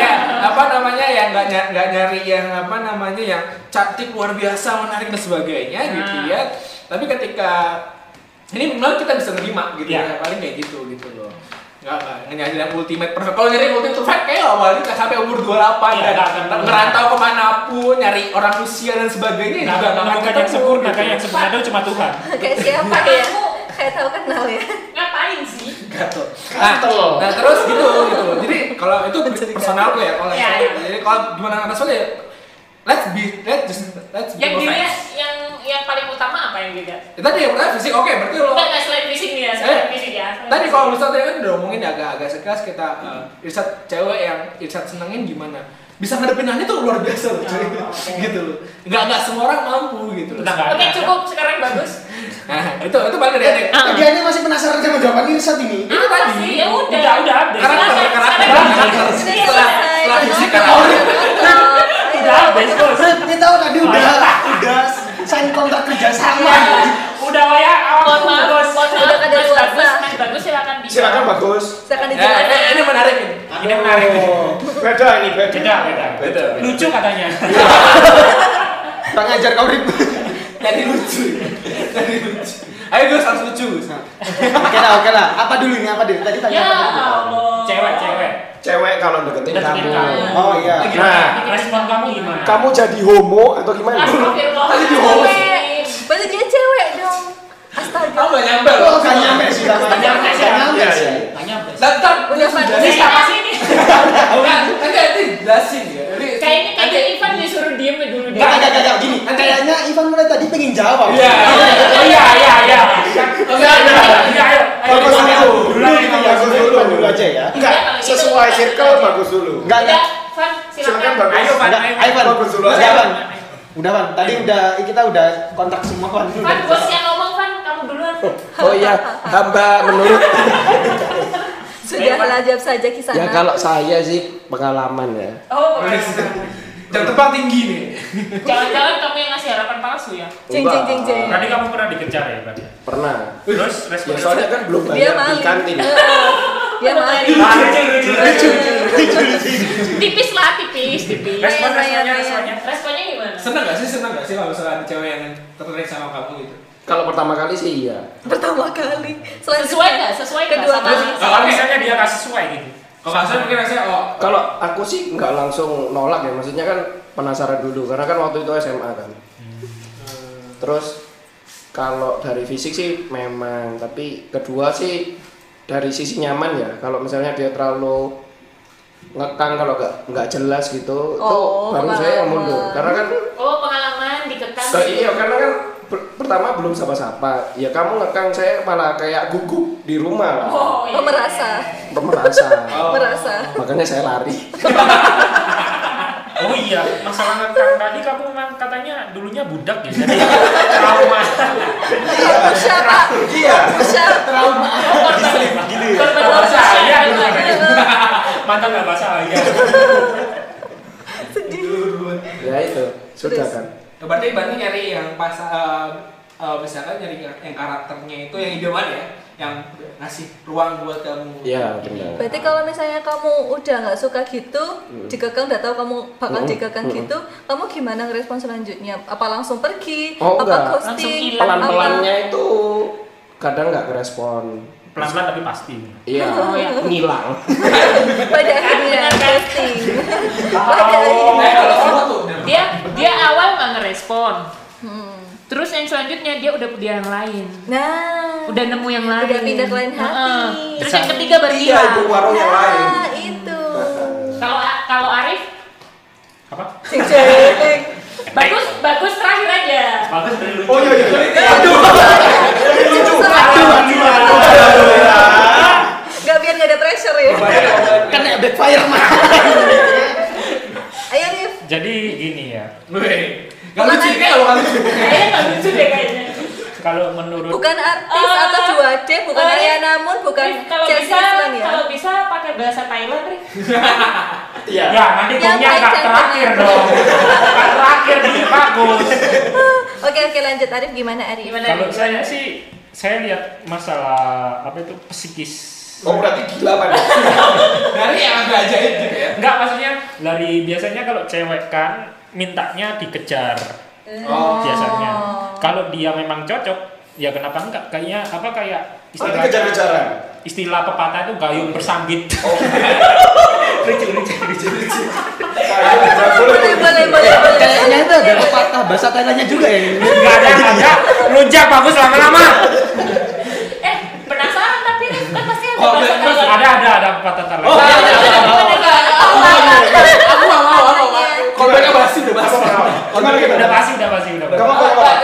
[SPEAKER 1] ya apa namanya yang nggak nyari, nggak nyari yang apa namanya yang cantik luar biasa menarik dan sebagainya gitu
[SPEAKER 3] Nah.
[SPEAKER 1] ya tapi ketika ini memang kita bisa nerima gitu
[SPEAKER 5] Iya.
[SPEAKER 1] ya paling kayak gitu gitu loh Nggak, nggak nggak nyari yang ultimate perfect. Kalau nyari ultimate perfect kayak awalnya nggak sampai umur 28
[SPEAKER 5] Iya,
[SPEAKER 1] dan
[SPEAKER 5] nggak akan pernah.
[SPEAKER 1] ngerantau kan. kemanapun nyari orang usia dan sebagainya juga nggak akan
[SPEAKER 5] Bukan yang
[SPEAKER 1] ketemu.
[SPEAKER 5] sempurna,
[SPEAKER 1] gitu.
[SPEAKER 5] kayak yang sempurna itu cuma Tuhan
[SPEAKER 4] Kayak siapa ya? Kayak tahu kenal ya.
[SPEAKER 3] Ngapain sih?
[SPEAKER 1] gatot. Nah, nah terus gitu gitu. Jadi kalau itu personal gue ya kalau
[SPEAKER 3] Iya, iya.
[SPEAKER 1] jadi kalau gimana anak soalnya ya, let's be let's just let's be
[SPEAKER 3] Yang dirinya
[SPEAKER 1] perfect.
[SPEAKER 3] yang yang paling utama apa yang beda?
[SPEAKER 1] Ya, tadi yang pertama fisik oke berarti lo
[SPEAKER 3] Enggak enggak selain fisik nih ya, selain
[SPEAKER 1] Eh,
[SPEAKER 3] fisik ya. selain
[SPEAKER 1] tadi
[SPEAKER 3] fisik.
[SPEAKER 1] kalau riset tadi kan udah ngomongin agak-agak sekilas kita eh, riset cewek yang riset senengin gimana bisa ngadepin hal itu luar biasa loh cuy
[SPEAKER 3] Oh, oke.
[SPEAKER 1] gitu loh nggak nggak semua orang mampu gitu loh
[SPEAKER 5] Tetangga.
[SPEAKER 3] Oke cukup sekarang bagus.
[SPEAKER 1] nah itu itu paling dari Ade.
[SPEAKER 7] Ah. Dia ini masih penasaran sama jawaban Irsa ini.
[SPEAKER 1] itu
[SPEAKER 3] Apa
[SPEAKER 1] tadi
[SPEAKER 3] sih? Ya udah.
[SPEAKER 5] Udah, kan udah habis.
[SPEAKER 1] karena
[SPEAKER 3] Silakan,
[SPEAKER 1] karena
[SPEAKER 3] silakan.
[SPEAKER 1] karena
[SPEAKER 3] Iya,
[SPEAKER 1] setelah
[SPEAKER 3] selesai.
[SPEAKER 1] setelah fisik kan
[SPEAKER 4] Oh,
[SPEAKER 5] Udah habis bos.
[SPEAKER 7] Ini tahu tadi udah udah sign kontrak kerja
[SPEAKER 5] Iya.
[SPEAKER 7] sama.
[SPEAKER 5] Udah lah ya,
[SPEAKER 3] Mohon
[SPEAKER 5] awal
[SPEAKER 3] maaf,
[SPEAKER 5] bos.
[SPEAKER 3] mohon maaf.
[SPEAKER 4] Udah kada
[SPEAKER 3] Mas
[SPEAKER 4] luasa.
[SPEAKER 3] bagus, mas bagus silakan bisa.
[SPEAKER 6] Silakan bagus.
[SPEAKER 4] Silakan
[SPEAKER 1] Eh,
[SPEAKER 4] dijelaskan.
[SPEAKER 1] ini, ini menarik ini
[SPEAKER 5] Ini menarik.
[SPEAKER 6] Oh, Beda ini beda.
[SPEAKER 5] Beda, beda.
[SPEAKER 6] Beda.
[SPEAKER 5] Lucu katanya.
[SPEAKER 7] Bang ajar kau ribut.
[SPEAKER 1] jadi lucu jadi lucu ayo gue harus lucu
[SPEAKER 7] Oke lah, oke lah. Apa dulu ini? Apa dulu? Tadi tanya
[SPEAKER 3] Ya
[SPEAKER 7] apa dulu?
[SPEAKER 3] Allah.
[SPEAKER 5] Cewek, cewek.
[SPEAKER 6] Cewek kalau deketin
[SPEAKER 5] Deketin
[SPEAKER 6] kamu.
[SPEAKER 5] kamu.
[SPEAKER 7] Oh iya.
[SPEAKER 5] Nah,
[SPEAKER 6] Nah.
[SPEAKER 5] respon kamu gimana?
[SPEAKER 6] Kamu jadi homo atau gimana?
[SPEAKER 3] Astagfirullah.
[SPEAKER 1] Tadi di host.
[SPEAKER 4] Berarti dia cewek dong. Astaga.
[SPEAKER 1] kamu gak nyampe
[SPEAKER 7] Oh,
[SPEAKER 1] loh
[SPEAKER 7] gak nyampe sih, gak
[SPEAKER 5] Gak nyampe sih.
[SPEAKER 7] Gak nyampe
[SPEAKER 6] Iya,
[SPEAKER 7] sih.
[SPEAKER 6] iya.
[SPEAKER 5] Tanya apa? sih?
[SPEAKER 1] Lantar,
[SPEAKER 4] Udah
[SPEAKER 3] Ini
[SPEAKER 1] sudah
[SPEAKER 4] pantas.
[SPEAKER 3] siapa sih ini?
[SPEAKER 1] Bukan, Nah, nanti nanti jelasin ya. Jadi
[SPEAKER 3] Kayaknya
[SPEAKER 1] nanti-
[SPEAKER 3] kayaknya Ivan disuruh diem dulu deh.
[SPEAKER 7] Gak, gak, gak, gak. Gini, kayaknya Ivan mulai tadi pengen jawab.
[SPEAKER 1] Iya.
[SPEAKER 5] Oh iya, iya, iya.
[SPEAKER 1] Oke, oke.
[SPEAKER 5] Iya, ayo. Ayo,
[SPEAKER 6] Bagus
[SPEAKER 5] duluan,
[SPEAKER 6] dulu.
[SPEAKER 5] ayo.
[SPEAKER 6] Iya, Dulu,
[SPEAKER 5] Duluan, ayo,
[SPEAKER 7] Bagus
[SPEAKER 5] bagus.
[SPEAKER 7] dulu, Ivan dulu aja ya.
[SPEAKER 6] Enggak,
[SPEAKER 3] Iya, gitu
[SPEAKER 6] sesuai circle bagus dulu.
[SPEAKER 7] Enggak, enggak.
[SPEAKER 3] Udah, Van
[SPEAKER 6] Silakan
[SPEAKER 3] silakan.
[SPEAKER 6] bagus.
[SPEAKER 5] Ayo, Pak.
[SPEAKER 7] Enggak, Nah, ayo Van.
[SPEAKER 6] Iya. Bagus Iya. dulu aja.
[SPEAKER 7] Udah, Van. Udah, Van. Tadi udah, kita udah kontak semua, Van.
[SPEAKER 3] Van bos yang ngomong Van, kamu duluan.
[SPEAKER 6] Oh iya, hamba menurut
[SPEAKER 4] Sudahlah jawab saja kisah.
[SPEAKER 6] ya kalau saya sih pengalaman ya.
[SPEAKER 3] Oh,
[SPEAKER 1] Terus, Jam terbang tinggi nih.
[SPEAKER 3] jangan-jangan kamu yang ngasih harapan palsu ya?
[SPEAKER 4] Jeng jeng jeng jeng.
[SPEAKER 6] Kan
[SPEAKER 5] Berarti kamu pernah dikejar ya berarti?
[SPEAKER 6] Pernah.
[SPEAKER 5] Terus
[SPEAKER 6] Ya
[SPEAKER 5] respon
[SPEAKER 6] soalnya kan belum
[SPEAKER 4] Dia
[SPEAKER 6] bayar di
[SPEAKER 4] maling.
[SPEAKER 6] kantin.
[SPEAKER 4] Dia maling.
[SPEAKER 5] Ah, lucu, lucu, lucu.
[SPEAKER 3] Tipis lah, tipis, tipis.
[SPEAKER 5] Respon,
[SPEAKER 4] Iya, iya, iya.
[SPEAKER 5] responnya, responnya.
[SPEAKER 3] Responnya gimana?
[SPEAKER 1] Seneng gak sih, seneng gak sih kalau misalnya ada cewek yang tertarik sama kamu gitu?
[SPEAKER 6] Kalau pertama kali sih iya.
[SPEAKER 4] Pertama kali. Selanjutnya.
[SPEAKER 3] Sesuai nggak? Sesuai nggak
[SPEAKER 4] Kedua
[SPEAKER 3] sama-
[SPEAKER 4] kali.
[SPEAKER 5] Kalau misalnya dia gak sesuai gitu.
[SPEAKER 1] Kalau nggak salah mungkin rasanya oh
[SPEAKER 6] Kalau aku sih nggak langsung nolak ya, maksudnya kan penasaran dulu karena kan waktu itu SMA kan. Terus kalau dari fisik sih memang, tapi kedua sih dari sisi nyaman ya. Kalau misalnya dia terlalu ngekang kalau nggak nggak jelas gitu, itu
[SPEAKER 4] Oh,
[SPEAKER 6] baru saya yang mundur.
[SPEAKER 4] pengalaman.
[SPEAKER 6] Karena kan
[SPEAKER 3] Oh, pengalaman dikekang.
[SPEAKER 6] Ke- iya karena kan per- pertama belum sapa-sapa. Ya kamu ngekang saya malah kayak gugup di rumah lah.
[SPEAKER 3] Oh, iya.
[SPEAKER 4] Oh, merasa.
[SPEAKER 6] Merasa.
[SPEAKER 4] Merasa.
[SPEAKER 6] Makanya saya lari.
[SPEAKER 5] Oh iya, masalah ngekang tadi kamu memang katanya dulunya budak ya, jadi trauma.
[SPEAKER 4] Kamu siapa?
[SPEAKER 6] Iya.
[SPEAKER 4] Kamu siapa?
[SPEAKER 5] Oh, korban, korban
[SPEAKER 4] Korban
[SPEAKER 5] bahasa ya,
[SPEAKER 3] persaingan.
[SPEAKER 6] Iya.
[SPEAKER 5] dulu katanya. Mantan nggak bahasa ya.
[SPEAKER 6] Ya itu sudah
[SPEAKER 4] Terus?
[SPEAKER 6] kan.
[SPEAKER 1] Ya, berarti berarti nyari yang pas eh, eh, misalkan nyari yang karakternya itu yang idaman ya, yang ngasih ruang buat kamu.
[SPEAKER 6] Iya benar.
[SPEAKER 4] Berarti kalau misalnya kamu udah nggak suka gitu, dikekang udah tahu kamu bakal
[SPEAKER 6] Hmm,
[SPEAKER 4] dikekang
[SPEAKER 6] hmm.
[SPEAKER 4] gitu, kamu gimana ngerespon selanjutnya? Apa langsung pergi?
[SPEAKER 6] Oh,
[SPEAKER 4] apa
[SPEAKER 6] enggak.
[SPEAKER 3] Langsung
[SPEAKER 4] ghosting?
[SPEAKER 3] hilang.
[SPEAKER 4] Apa-
[SPEAKER 6] Pelan-pelannya itu kadang nggak kerespon.
[SPEAKER 5] Pelan-pelan tapi pasti.
[SPEAKER 6] Iya.
[SPEAKER 3] Oh, iya.
[SPEAKER 6] Ngilang.
[SPEAKER 4] Pada akhirnya
[SPEAKER 3] Benar, kan?
[SPEAKER 4] ghosting. Pada akhirnya.
[SPEAKER 1] Nah, kalau kamu tuh udah-
[SPEAKER 3] Dia dia awal nggak ngerespon.
[SPEAKER 4] Hmm.
[SPEAKER 3] Terus yang selanjutnya dia udah punya yang lain.
[SPEAKER 4] Nah,
[SPEAKER 3] Udah nemu yang lain.
[SPEAKER 4] Udah pindah ke lain hati.
[SPEAKER 3] Heeh. Terus yang ketiga baru
[SPEAKER 6] Iya
[SPEAKER 3] hilang.
[SPEAKER 6] itu warung yang lain.
[SPEAKER 4] nah itu.
[SPEAKER 3] Kalau A- kalau Arif
[SPEAKER 5] Apa?
[SPEAKER 4] Cek cek.
[SPEAKER 3] bagus bagus terakhir aja.
[SPEAKER 5] Bagus dari lucu.
[SPEAKER 6] Oh iya iya. Aduh.
[SPEAKER 4] Nggak
[SPEAKER 6] Alhamdulillah.
[SPEAKER 4] biar nggak ada pressure ya.
[SPEAKER 5] Iya.
[SPEAKER 7] Kena backfire, mah.
[SPEAKER 4] Ayo Rif.
[SPEAKER 5] Jadi gini ya,
[SPEAKER 1] Weh, Gak lucu
[SPEAKER 5] Iya.
[SPEAKER 1] ini kalau nggak lucu.
[SPEAKER 3] Kayaknya nggak lucu deh kayaknya.
[SPEAKER 5] kalau menurut
[SPEAKER 4] Bukan artis
[SPEAKER 3] Eh,
[SPEAKER 4] atau 2D, bukan
[SPEAKER 3] eh,
[SPEAKER 4] Arya Namun, bukan
[SPEAKER 3] Rif, kalau
[SPEAKER 4] Chelsea
[SPEAKER 3] bisa
[SPEAKER 4] Islan ya.
[SPEAKER 3] kalau bisa pakai bahasa Thailand, Rif.
[SPEAKER 6] Iya.
[SPEAKER 5] ya nanti
[SPEAKER 4] Yang
[SPEAKER 5] punya
[SPEAKER 4] baik
[SPEAKER 5] kak
[SPEAKER 4] dan
[SPEAKER 5] terakhir
[SPEAKER 4] benar.
[SPEAKER 5] dong. Kak terakhir nih bagus.
[SPEAKER 4] Oke oke lanjut Arif gimana Arif?
[SPEAKER 3] Gimana?
[SPEAKER 5] Kalau
[SPEAKER 3] Rif?
[SPEAKER 5] saya sih saya lihat masalah apa itu psikis.
[SPEAKER 6] Oh berarti gila pak.
[SPEAKER 1] Dari yang agak ajaib gitu ya.
[SPEAKER 5] Enggak maksudnya dari biasanya kalau cewek kan mintanya dikejar.
[SPEAKER 1] Oh.
[SPEAKER 5] biasanya. Kalau dia memang cocok, ya kenapa enggak? Kayaknya apa kayak
[SPEAKER 6] Berarti
[SPEAKER 5] istilahnya-
[SPEAKER 6] kejar-kejaran. Oh,
[SPEAKER 5] Istilah pepatah itu gayung bersambit.
[SPEAKER 1] gitu ya.
[SPEAKER 5] lucu, lucu, lucu, lucu.
[SPEAKER 4] Boleh boleh boleh boleh.
[SPEAKER 7] Kayaknya itu ada patah bahasa Thailandnya juga ya.
[SPEAKER 6] iya.
[SPEAKER 5] Enggak ada, enggak ada. Lonjak bagus lama-lama.
[SPEAKER 3] Eh, penasaran tapi Rif kan pasti ada
[SPEAKER 1] Oh,
[SPEAKER 6] Oh, iya,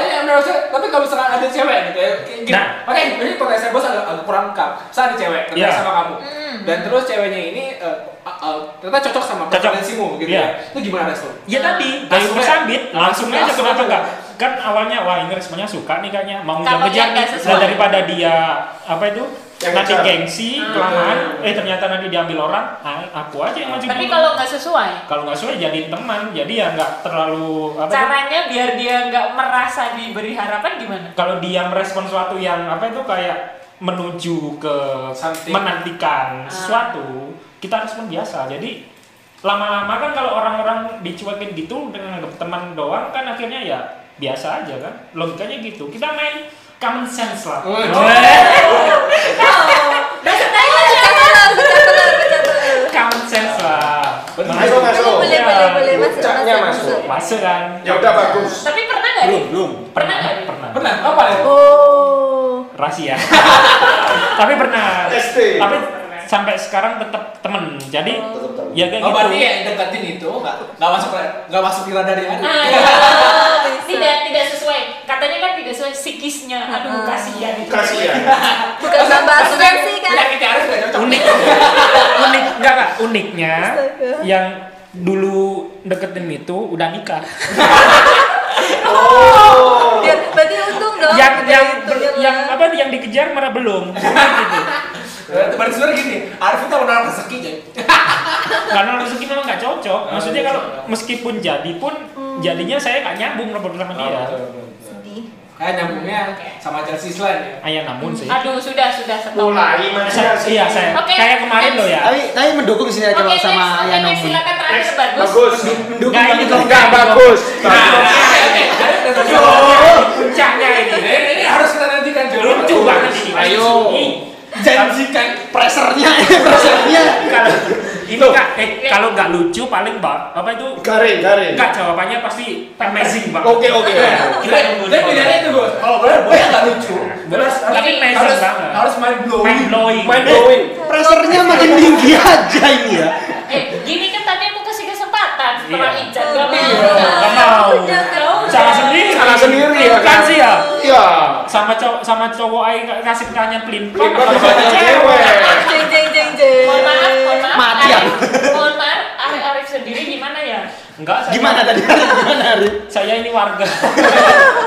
[SPEAKER 3] Iya.
[SPEAKER 1] gitu ya, tertarik
[SPEAKER 5] Nah. Iya.
[SPEAKER 1] sama kamu
[SPEAKER 3] Hmm.
[SPEAKER 1] dan terus ceweknya ini eh, eh, eh, ternyata cocok sama
[SPEAKER 5] Cocok.
[SPEAKER 1] preferensimu gitu
[SPEAKER 5] Iya.
[SPEAKER 1] ya itu gimana Resul?
[SPEAKER 5] Ya tadi,
[SPEAKER 1] Langsung
[SPEAKER 5] langsung
[SPEAKER 1] aja.
[SPEAKER 5] kesambit, langsung aja
[SPEAKER 1] Langsung
[SPEAKER 5] kenapa
[SPEAKER 1] aja.
[SPEAKER 5] enggak? Kan awalnya wah ini responnya suka nih kayaknya mau
[SPEAKER 3] Kalau
[SPEAKER 5] ngejar-ngejar
[SPEAKER 3] yang
[SPEAKER 5] nih
[SPEAKER 3] nggak sesuai.
[SPEAKER 5] Nah, daripada dia apa itu
[SPEAKER 6] Yang
[SPEAKER 5] nanti
[SPEAKER 6] ngejar.
[SPEAKER 5] gengsi,
[SPEAKER 3] Ah.
[SPEAKER 5] kelamaan, eh ternyata nanti diambil orang, ah, aku aja yang maju.
[SPEAKER 3] Tapi
[SPEAKER 5] dulu.
[SPEAKER 3] kalau nggak sesuai,
[SPEAKER 5] kalau nggak sesuai jadiin teman, jadi ya nggak terlalu apa itu,
[SPEAKER 3] caranya biar dia nggak merasa diberi harapan gimana?
[SPEAKER 5] kalau dia merespon sesuatu yang apa itu kayak menuju ke
[SPEAKER 1] Something.
[SPEAKER 5] menantikan
[SPEAKER 3] Ah.
[SPEAKER 5] sesuatu, kita respon biasa. Jadi lama-lama kan kalau orang-orang dicuekin gitu dengan anggap teman doang kan akhirnya ya biasa aja kan. Logikanya gitu. Kita main common sense lah.
[SPEAKER 7] Oh,
[SPEAKER 3] Besok aja.
[SPEAKER 4] Pecah telur, pecah telur, pecah telur.
[SPEAKER 5] Common sense lah.
[SPEAKER 6] Masuk, masuk.
[SPEAKER 4] Boleh, boleh, boleh, masuk,
[SPEAKER 6] Puncaknya
[SPEAKER 4] masuk,
[SPEAKER 6] masuk.
[SPEAKER 4] masuk.
[SPEAKER 5] Masuk kan?
[SPEAKER 6] Ya udah bagus.
[SPEAKER 3] Tapi pernah nggak Ah, nih?
[SPEAKER 7] Belum, belum.
[SPEAKER 5] Pernah,
[SPEAKER 3] Pernah.
[SPEAKER 5] pernah.
[SPEAKER 1] pernah apa ya?
[SPEAKER 4] Oh.
[SPEAKER 5] rahasia ya. tapi pernah
[SPEAKER 6] ST.
[SPEAKER 5] tapi sampai sekarang tetap temen jadi
[SPEAKER 6] Tetap tahu.
[SPEAKER 5] ya kayak
[SPEAKER 1] Oh,
[SPEAKER 5] gitu
[SPEAKER 1] berarti ya deketin itu nggak nggak masuk nggak masuk di radar ya?
[SPEAKER 4] Oh,
[SPEAKER 3] Ah, iya. tidak tidak sesuai. Katanya kan tidak sesuai psikisnya. Aduh
[SPEAKER 4] Ah.
[SPEAKER 3] kasihan itu. ya, gitu.
[SPEAKER 6] Kasihan.
[SPEAKER 4] Bukan tambah asuransi kan?
[SPEAKER 1] Penyakitnya harus nggak cocok.
[SPEAKER 5] unik unik enggak enggak uniknya
[SPEAKER 4] Astaga.
[SPEAKER 5] yang dulu deketin itu udah nikah
[SPEAKER 4] Biar, berarti untung dong.
[SPEAKER 5] yang
[SPEAKER 4] Oh, udah
[SPEAKER 5] yang
[SPEAKER 4] itu, ya.
[SPEAKER 5] yang apa yang dikejar malah belum gitu.
[SPEAKER 1] Berarti sebenarnya gini, Arif itu orang rezeki jadi.
[SPEAKER 5] karena rezeki memang nggak cocok
[SPEAKER 1] Oh,
[SPEAKER 5] maksudnya
[SPEAKER 1] iya,
[SPEAKER 5] kalau
[SPEAKER 1] iya.
[SPEAKER 5] meskipun jadi pun
[SPEAKER 4] Hmm.
[SPEAKER 5] jadinya saya nggak nyambung nomor
[SPEAKER 1] Ah,
[SPEAKER 5] sama dia
[SPEAKER 4] Sedih.
[SPEAKER 1] Kayak nyambungnya sama Chelsea Island ya.
[SPEAKER 5] ayah namun sih
[SPEAKER 3] Aduh sudah sudah stop.
[SPEAKER 6] Mulai
[SPEAKER 5] Saya-
[SPEAKER 6] masih
[SPEAKER 5] iya saya
[SPEAKER 3] Oke,
[SPEAKER 5] kayak kemarin
[SPEAKER 3] next.
[SPEAKER 5] loh ya
[SPEAKER 7] Tapi tapi mendukung sih
[SPEAKER 3] Oke
[SPEAKER 7] kalau
[SPEAKER 3] next,
[SPEAKER 7] sama
[SPEAKER 3] oke
[SPEAKER 7] Ayano.
[SPEAKER 3] next silakan terakhir bagus.
[SPEAKER 6] Bagus. Nah,
[SPEAKER 5] Nggak,
[SPEAKER 7] Mendukung banget
[SPEAKER 5] ini
[SPEAKER 7] kalau-
[SPEAKER 6] Enggak bagus.
[SPEAKER 5] Nah,
[SPEAKER 1] Eh,
[SPEAKER 5] puncaknya ini
[SPEAKER 1] Ini, ini harus kita nantikan dulu.
[SPEAKER 5] lucu banget ini
[SPEAKER 7] Ayo.
[SPEAKER 5] Ih,
[SPEAKER 7] Janjikan presernya, presernya.
[SPEAKER 5] kalau ini
[SPEAKER 6] Tuh.
[SPEAKER 5] nggak- eh, kalau nggak lucu paling ba- apa itu
[SPEAKER 6] Garing, garing.
[SPEAKER 5] nggak jawabannya pasti amazing banget
[SPEAKER 6] Oke, oke.
[SPEAKER 5] Kita yang
[SPEAKER 1] Dan bedanya itu bos, kalau Oh, boleh boleh nggak lucu.
[SPEAKER 5] Terus, tapi
[SPEAKER 3] Ini
[SPEAKER 5] amazing
[SPEAKER 1] Harus
[SPEAKER 5] banget
[SPEAKER 1] harus mind blowing.
[SPEAKER 5] mind blowing
[SPEAKER 6] Main going.
[SPEAKER 7] Presernya makin tinggi aja ini ya.
[SPEAKER 3] Eh gini kan tadi aku kasih kesempatan setelah
[SPEAKER 5] Iya.
[SPEAKER 3] Ican gak mau.
[SPEAKER 5] nggak mau. salah sendiri
[SPEAKER 6] Salah sendiri ya
[SPEAKER 5] kan
[SPEAKER 6] kan?
[SPEAKER 5] sih ya
[SPEAKER 6] Iya.
[SPEAKER 5] sama cowok sama cowok aing nggak kasih pertanyaan pelin
[SPEAKER 6] Ini kan
[SPEAKER 5] sama
[SPEAKER 6] banyak cewek.
[SPEAKER 4] Jeng jeng jeng jeng.
[SPEAKER 3] Mohon maaf, mohon maaf.
[SPEAKER 7] Mati
[SPEAKER 3] Arif, mohon maaf, Arif, Arif sendiri gimana ya?
[SPEAKER 5] enggak saya,
[SPEAKER 7] Gimana tadi? Gimana Arif?
[SPEAKER 5] saya ini warga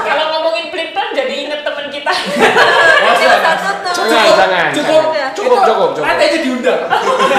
[SPEAKER 3] Kalau ngomongin pelin jadi inget temen kita.
[SPEAKER 4] Yang satu tuh.
[SPEAKER 6] Jangan, jangan.
[SPEAKER 1] Cukup,
[SPEAKER 4] jangan.
[SPEAKER 1] cukup,
[SPEAKER 6] Cukup, cukup, cukup.
[SPEAKER 1] Nanti aja diundang.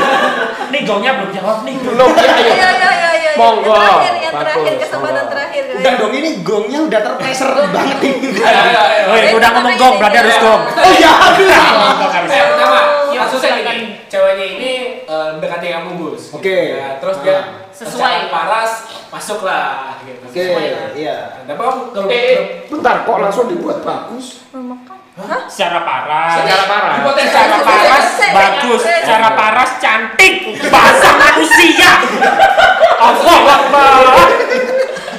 [SPEAKER 5] nih gongnya belum jawab nih
[SPEAKER 6] Belum ya,
[SPEAKER 4] Iya
[SPEAKER 6] ayo.
[SPEAKER 4] iya iya iya. iya.
[SPEAKER 6] Monggo.
[SPEAKER 4] Yang terakhir, yang terakhir
[SPEAKER 6] Bagus,
[SPEAKER 4] kesempatan
[SPEAKER 6] monggo.
[SPEAKER 4] terakhir. guys.
[SPEAKER 7] Udah dong ini gongnya udah terpreser banget ini.
[SPEAKER 1] Ayo, ayo, ayo.
[SPEAKER 5] Oh, iya, udah ngomong gong berarti harus gong
[SPEAKER 7] Oh ya, aduh.
[SPEAKER 5] Ngomong harus.
[SPEAKER 1] Eh, pertama,
[SPEAKER 3] Iya,
[SPEAKER 1] kasusnya
[SPEAKER 3] silakan.
[SPEAKER 1] gini, ceweknya ini eh, dekati kamu Gus. gitu
[SPEAKER 7] Oke.
[SPEAKER 1] ya. Terus dia
[SPEAKER 7] Ah.
[SPEAKER 3] Sesuai.
[SPEAKER 1] secara paras, masuklah. Gitu.
[SPEAKER 7] Oke, iya.
[SPEAKER 1] Tapi kamu kalau
[SPEAKER 3] Eh, eh.
[SPEAKER 6] Bentar kok langsung dibuat bagus.
[SPEAKER 4] Mau makan? Hah?
[SPEAKER 5] secara parah
[SPEAKER 1] eh,
[SPEAKER 6] Secara parah.
[SPEAKER 1] Hipotesis
[SPEAKER 5] secara
[SPEAKER 4] Saya-
[SPEAKER 5] paras
[SPEAKER 4] saya-
[SPEAKER 5] bagus,
[SPEAKER 4] saya-
[SPEAKER 5] secara paras cantik, bahasa manusia. Allah Akbar.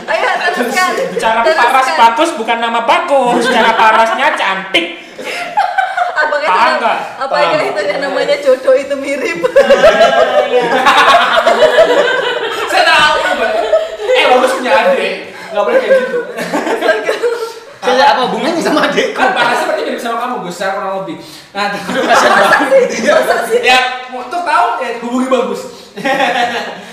[SPEAKER 4] Ayo teruskan.
[SPEAKER 5] Secara
[SPEAKER 4] Teruskan.
[SPEAKER 5] paras bagus bukan nama bagus, secara parasnya cantik.
[SPEAKER 4] Apakah itu
[SPEAKER 5] Paham nggak?
[SPEAKER 4] apakah
[SPEAKER 5] Paham.
[SPEAKER 4] itu yang namanya jodoh itu mirip?
[SPEAKER 5] Nah.
[SPEAKER 1] Saya tahu. Mbak. Eh, bagus punya adik. Nggak boleh kayak gitu.
[SPEAKER 7] Saya apa hubungannya sama adekku?
[SPEAKER 1] Kan parasnya berarti mirip sama kamu Gus, secara kurang lebih. Nah, terus- ya, mau- tuh tahu ya hubungi bagus.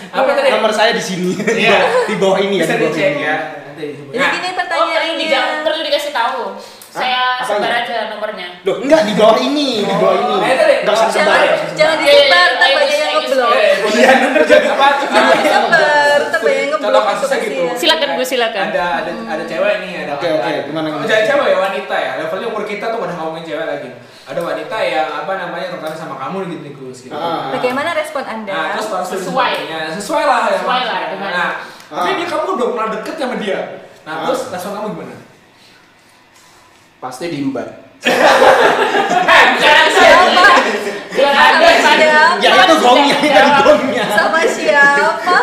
[SPEAKER 1] Apa
[SPEAKER 3] Oh,
[SPEAKER 1] tadi?
[SPEAKER 7] Nomor saya di sini.
[SPEAKER 1] Iya.
[SPEAKER 7] Di bawah ini ya.
[SPEAKER 1] Bisa
[SPEAKER 7] di bawah
[SPEAKER 1] dicek
[SPEAKER 7] ini.
[SPEAKER 1] ya. Nanti dihubungi.
[SPEAKER 4] Jadi
[SPEAKER 1] Nah,
[SPEAKER 4] gini
[SPEAKER 3] Oh, perlu,
[SPEAKER 4] pertanyaannya.
[SPEAKER 3] dijawab, perlu dikasih tahu. Saya
[SPEAKER 7] Apanya?
[SPEAKER 3] sebar aja nomornya.
[SPEAKER 7] Loh, enggak di bawah ini, di bawah ini.
[SPEAKER 1] Eh, tadi.
[SPEAKER 7] Enggak usah ya? sebar.
[SPEAKER 4] Jangan jangan
[SPEAKER 3] Iya, iya, iya,
[SPEAKER 4] disebar, tak
[SPEAKER 3] iya,
[SPEAKER 4] banyak
[SPEAKER 3] iya,
[SPEAKER 4] yang
[SPEAKER 3] iya,
[SPEAKER 4] ngeblok.
[SPEAKER 1] Eh, Iya, bener juga. Apa?
[SPEAKER 4] Jangan
[SPEAKER 5] iya.
[SPEAKER 4] disebar, tak banyak yang ngeblok.
[SPEAKER 1] Contoh kasusnya gitu.
[SPEAKER 4] Kasihan.
[SPEAKER 3] Silakan, Bu, silakan.
[SPEAKER 1] Ada ada ada cewek nih, ada
[SPEAKER 7] Hmm. Oke,
[SPEAKER 1] ada-
[SPEAKER 7] oke,
[SPEAKER 1] ada-
[SPEAKER 7] gimana, gimana?
[SPEAKER 1] Oh, Jangan cewek ya, wanita ya. Levelnya umur kita tuh udah ngomongin cewek lagi. Ada wanita yang apa namanya tertarik sama kamu gitu nih Gus gitu.
[SPEAKER 7] Ah.
[SPEAKER 4] Bagaimana respon Anda?
[SPEAKER 1] Nah, terus harus
[SPEAKER 3] Sesuai.
[SPEAKER 1] ditanya. Sesuai lah. ya,
[SPEAKER 3] Sesuai lah
[SPEAKER 1] maksudnya.
[SPEAKER 3] dengan-
[SPEAKER 1] Nah, tapi
[SPEAKER 7] Ah.
[SPEAKER 1] dia kamu udah pernah deket sama dia. Nah,
[SPEAKER 7] Ah.
[SPEAKER 1] terus respon kamu gimana?
[SPEAKER 6] Pasti diimbat.
[SPEAKER 3] Eh, bicara
[SPEAKER 4] Siapa?
[SPEAKER 3] saya. Biar ada
[SPEAKER 4] Sama siapa?
[SPEAKER 7] Ya itu gongnya, itu tadi gongnya.
[SPEAKER 4] Sama siapa?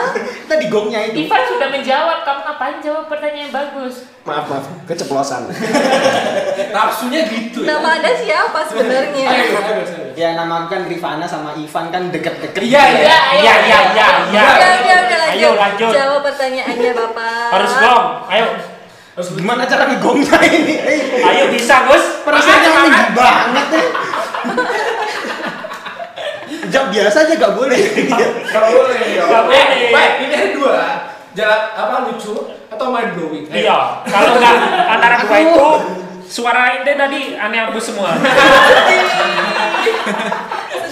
[SPEAKER 7] Tadi gongnya itu.
[SPEAKER 3] Ivan sudah menjawab, kamu ngapain jawab pertanyaan yang bagus?
[SPEAKER 6] Maaf, maaf. Keceplosan.
[SPEAKER 1] Nafsunya gitu ya.
[SPEAKER 4] Nama Anda siapa sebenarnya?
[SPEAKER 1] Ayo, ayo, ayo, ayo.
[SPEAKER 7] Ya nama kan Rifana sama Ivan kan deket-deket.
[SPEAKER 1] Iya,
[SPEAKER 3] iya.
[SPEAKER 5] Iya, iya, iya, iya.
[SPEAKER 4] Udah, udah, udah
[SPEAKER 5] Ayo
[SPEAKER 4] lanjut.
[SPEAKER 5] lanjut.
[SPEAKER 4] Jawab pertanyaannya, Bapak.
[SPEAKER 5] Harus gong. Ayo.
[SPEAKER 1] Terus
[SPEAKER 7] Gimana cara ngegongnya ini? Eh,
[SPEAKER 5] Ayo bisa, Gus.
[SPEAKER 7] Perasaannya tinggi banget ya. jam biasa aja gak boleh.
[SPEAKER 1] Gak boleh.
[SPEAKER 5] Nggak boleh.
[SPEAKER 1] Eh, Baik, ini ada dua. Jalan apa lucu atau mind blowing? Eh,
[SPEAKER 5] Iya, kalau nggak antara dua itu suara ente tadi aneh abus semua.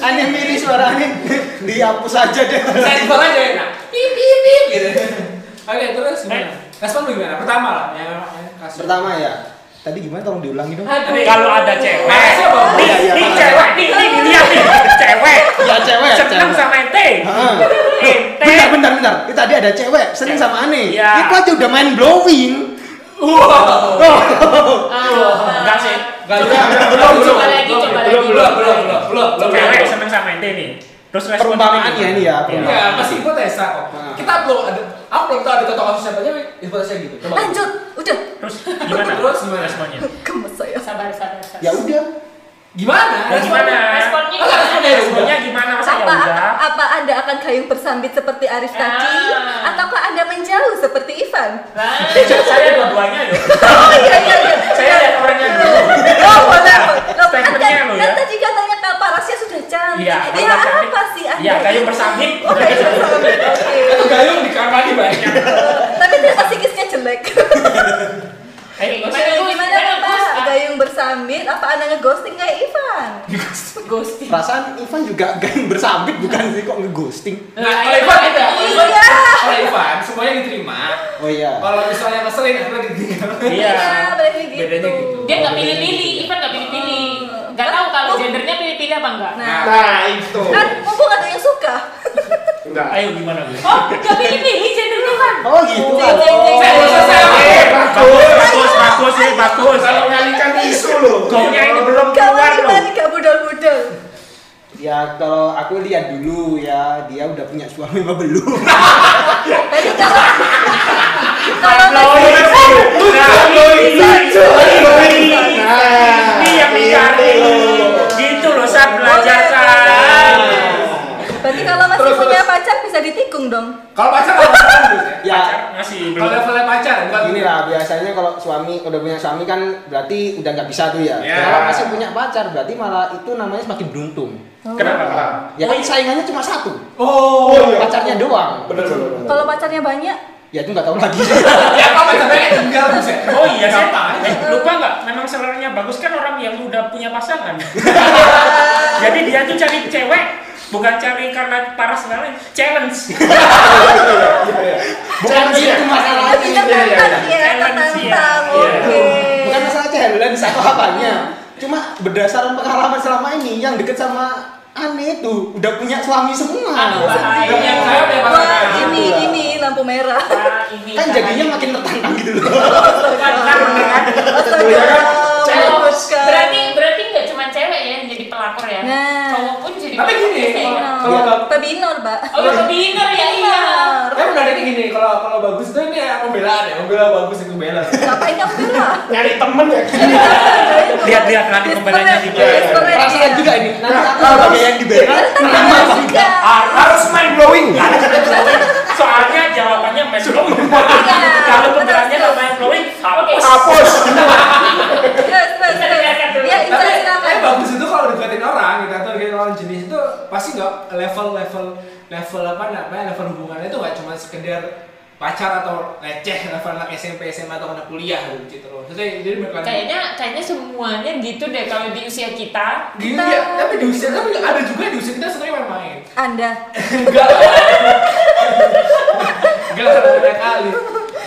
[SPEAKER 7] aneh miris suara aneh dihapus aja deh.
[SPEAKER 1] Saya simpel aja ya. Nah, pip pip pip gitu. Oke, terus
[SPEAKER 3] Eh.
[SPEAKER 1] gimana? Respon lu gimana? Pertama lah, ya, yang yang kasus.
[SPEAKER 7] Pertama ya, tadi gimana tolong diulangi dong.
[SPEAKER 3] Aduh.
[SPEAKER 5] Kalau ada cewek,
[SPEAKER 1] Makasih, Bang.
[SPEAKER 5] nih,
[SPEAKER 7] Iya, iya,
[SPEAKER 5] nih
[SPEAKER 7] makasih.
[SPEAKER 5] cewek, nih, nih dilihat nih, cewek.
[SPEAKER 7] Ya cewek,
[SPEAKER 5] Seneng
[SPEAKER 7] cewek.
[SPEAKER 5] sama ente.
[SPEAKER 7] Heeh.
[SPEAKER 5] Ente.
[SPEAKER 7] Bentar, bentar, bentar. Itu tadi ada cewek, sering sama aneh.
[SPEAKER 5] Iya.
[SPEAKER 7] Itu aja udah main blowing.
[SPEAKER 5] Enggak sih.
[SPEAKER 1] Gak juga.
[SPEAKER 3] Belum, belum. Coba lagi, coba lagi.
[SPEAKER 1] belum, belum, belum, belum, belum, belum,
[SPEAKER 5] Cewek
[SPEAKER 1] belum.
[SPEAKER 5] seneng sama ente nih. Terus respon
[SPEAKER 7] Perumpamaan
[SPEAKER 5] ente
[SPEAKER 7] ya ini
[SPEAKER 5] gimana?
[SPEAKER 7] ya,
[SPEAKER 5] Iya.
[SPEAKER 1] Ya, masih hipotesa kok.
[SPEAKER 7] Nah.
[SPEAKER 1] Kita belum ada, aku belum tahu ada contoh kasus siapa aja, tapi hipotesa gitu. Coba.
[SPEAKER 4] Lanjut, udah.
[SPEAKER 5] Terus gimana?
[SPEAKER 1] Terus gimana?
[SPEAKER 5] responnya?
[SPEAKER 4] Gemes saya.
[SPEAKER 3] Sabar, sabar, sabar.
[SPEAKER 7] Ya udah.
[SPEAKER 1] Gimana?
[SPEAKER 5] Ya gimana?
[SPEAKER 3] Responnya
[SPEAKER 1] Oh, responnya
[SPEAKER 3] gimana?
[SPEAKER 1] ya udah.
[SPEAKER 5] Responnya gimana? Masa ya
[SPEAKER 4] Apa,
[SPEAKER 5] udah?
[SPEAKER 4] apa anda akan gayung bersambit seperti Arif tadi?
[SPEAKER 3] Ah.
[SPEAKER 4] Ataukah anda menjauh seperti Ivan?
[SPEAKER 3] Nah,
[SPEAKER 5] Ya, Saya dua-duanya loh.
[SPEAKER 4] Oh iya iya iya.
[SPEAKER 5] Saya lihat orangnya dulu.
[SPEAKER 4] Oh boleh. Loh, kan,
[SPEAKER 5] Statementnya
[SPEAKER 4] kan,
[SPEAKER 5] lo
[SPEAKER 4] kan
[SPEAKER 5] ya.
[SPEAKER 4] tadi katanya kaparasnya sudah cantik.
[SPEAKER 5] Iya,
[SPEAKER 4] Ini
[SPEAKER 5] kalau cantik.
[SPEAKER 4] apa sih anda?
[SPEAKER 5] Iya, kayu
[SPEAKER 4] ini?
[SPEAKER 5] bersambit.
[SPEAKER 4] Oh kayu bersambit. Oke.
[SPEAKER 1] Itu gayung Kan di kamar lagi banyak.
[SPEAKER 5] Iya,
[SPEAKER 4] Tapi ternyata psikisnya jelek.
[SPEAKER 5] Eh,
[SPEAKER 4] Gimana gimana Pak?
[SPEAKER 3] Ah.
[SPEAKER 4] Gayung bersambit apa anda ngeghosting kayak Ivan?
[SPEAKER 3] ghosting.
[SPEAKER 7] Perasaan Ivan juga gayung bersambit bukan sih kok ngeghosting.
[SPEAKER 1] Nah, kalau Ivan beda. Kalau Ivan,
[SPEAKER 4] Iya.
[SPEAKER 1] kalau Ivan semuanya diterima.
[SPEAKER 7] Oh iya.
[SPEAKER 1] Kalau misalnya ngeselin, akhirnya ditinggal.
[SPEAKER 5] Iya.
[SPEAKER 4] berarti gitu.
[SPEAKER 1] Bedanya gitu.
[SPEAKER 3] Dia nggak pilih-pilih, Ivan nggak pilih-pilih. Nggak tahu kalau gendernya pilih-pilih apa enggak.
[SPEAKER 4] Nah,
[SPEAKER 6] Nah, itu.
[SPEAKER 4] kan mumpung ada yang suka.
[SPEAKER 6] Enggak.
[SPEAKER 5] Ayo gimana Bu?
[SPEAKER 3] Oh, nggak pilih-pilih gendernya kan?
[SPEAKER 7] Oh gitu
[SPEAKER 5] Iya,
[SPEAKER 7] kan.
[SPEAKER 1] Saya belum selesai.
[SPEAKER 6] Eh,
[SPEAKER 5] Bagus,
[SPEAKER 6] bagus.
[SPEAKER 5] bagus, bagus, eh, bagus.
[SPEAKER 6] Kalau mengalihkan Kan isu loh.
[SPEAKER 5] Gongnya ini belum
[SPEAKER 4] Kawan
[SPEAKER 5] keluar
[SPEAKER 4] kita
[SPEAKER 5] loh.
[SPEAKER 4] tidak budal-budal.
[SPEAKER 7] Ya kalau aku lihat dulu ya dia udah punya suami apa belum?
[SPEAKER 4] Jadi kalau kalau
[SPEAKER 5] Nah,
[SPEAKER 4] Eh,
[SPEAKER 6] Iya.
[SPEAKER 4] eh,
[SPEAKER 5] Ini yang dicari. Gitu loh, saya belajar saya.
[SPEAKER 4] berarti kalau masih
[SPEAKER 1] Terus,
[SPEAKER 4] punya
[SPEAKER 1] terus.
[SPEAKER 4] pacar bisa ditikung dong.
[SPEAKER 1] Kalau pacar nggak bisa bagus ya.
[SPEAKER 7] Ya
[SPEAKER 5] Masih
[SPEAKER 1] Kalau
[SPEAKER 5] belum.
[SPEAKER 1] levelnya pacar, bukan
[SPEAKER 7] gini lah biasanya kalau suami udah punya suami kan berarti udah nggak bisa tuh ya.
[SPEAKER 6] Ya.
[SPEAKER 7] Kalau masih punya pacar berarti malah itu namanya semakin beruntung.
[SPEAKER 5] Kenapa? Pak?
[SPEAKER 7] Ya kan saingannya cuma satu,
[SPEAKER 1] Oh,
[SPEAKER 6] iya.
[SPEAKER 7] pacarnya doang.
[SPEAKER 6] Bener bener. bener.
[SPEAKER 4] Kalau pacarnya banyak,
[SPEAKER 7] Ya itu nggak tahu lagi.
[SPEAKER 1] ya kalau pacar banyak tinggal bisa.
[SPEAKER 5] Oh iya, saya
[SPEAKER 1] Gampang.
[SPEAKER 5] eh, lupa nggak? Memang selera bagus kan orang yang udah punya pasangan. Jadi dia tuh cari cewek bukan cari karena parah selera, challenge.
[SPEAKER 7] Bukan
[SPEAKER 6] Challenge ya?
[SPEAKER 7] itu
[SPEAKER 4] tapi
[SPEAKER 6] iya,
[SPEAKER 7] masalahnya.
[SPEAKER 6] iya.
[SPEAKER 4] tertantang ya,
[SPEAKER 5] Challenge,
[SPEAKER 4] tertantang.
[SPEAKER 5] iya.
[SPEAKER 4] Oke.
[SPEAKER 7] Bukan masalah challenge atau apanya. Cuma berdasarkan pengalaman selama ini yang deket sama aneh itu udah punya suami semua.
[SPEAKER 3] Aduh, bahaya.
[SPEAKER 7] Udah-
[SPEAKER 5] Iya,
[SPEAKER 1] Yang saya udah
[SPEAKER 4] Wah,
[SPEAKER 1] pasangan.
[SPEAKER 4] ini
[SPEAKER 7] Itulah.
[SPEAKER 4] ini lampu merah.
[SPEAKER 3] Nah, ini
[SPEAKER 7] kan
[SPEAKER 3] salah.
[SPEAKER 7] jadinya makin tertantang gitu loh.
[SPEAKER 4] Astaga,
[SPEAKER 7] Iya kan?
[SPEAKER 4] mampus, kan?
[SPEAKER 3] Berarti berarti nggak cuma cewek ya yang jadi pelakor ya.
[SPEAKER 4] Nah.
[SPEAKER 3] Cowok pun jadi.
[SPEAKER 1] Tapi
[SPEAKER 3] pelakor
[SPEAKER 1] gini,
[SPEAKER 3] bisa ya?
[SPEAKER 1] kalau-
[SPEAKER 4] Kalau
[SPEAKER 1] kalau
[SPEAKER 4] pebinor, Pak.
[SPEAKER 3] Oh, lebih pinter ya iya.
[SPEAKER 4] Pebinor.
[SPEAKER 1] Tapi menariknya gini, kalau kalau bagus tuh ini ya pembelaan ya, membela bagus itu bela.
[SPEAKER 4] Ngapain kamu merah?
[SPEAKER 6] Nyari temen ya.
[SPEAKER 5] Lihat-lihat nanti pembelanya
[SPEAKER 4] Desperate,
[SPEAKER 5] gimana.
[SPEAKER 4] desperate,
[SPEAKER 7] ya. Perasaan
[SPEAKER 4] iya.
[SPEAKER 7] juga ini. Nanti aku sebagai yang dibela.
[SPEAKER 4] Tertantang juga.
[SPEAKER 6] Harus main blowing.
[SPEAKER 5] Soalnya jawabannya main blowing.
[SPEAKER 4] Iya.
[SPEAKER 5] Kalau pembelanya nggak main blowing, hapus.
[SPEAKER 6] Hapus.
[SPEAKER 4] Yes, yes, yes. Ya,
[SPEAKER 1] Tapi eh,
[SPEAKER 4] Insan,
[SPEAKER 1] tapi
[SPEAKER 4] silakan.
[SPEAKER 1] bagus itu kalau deketin orang gitu atau deketin orang jenis itu pasti nggak level level level apa namanya level hubungannya itu nggak cuma sekedar pacar atau receh level anak SMP SMA atau anak kuliah gitu loh. Jadi jadi mereka
[SPEAKER 3] Kayaknya kayaknya semuanya gitu deh kalau di usia kita.
[SPEAKER 1] Gitu ya, tapi di usia tapi ada juga di usia kita sebenarnya main-main.
[SPEAKER 4] Anda.
[SPEAKER 1] Enggak. Enggak lah, banyak kali.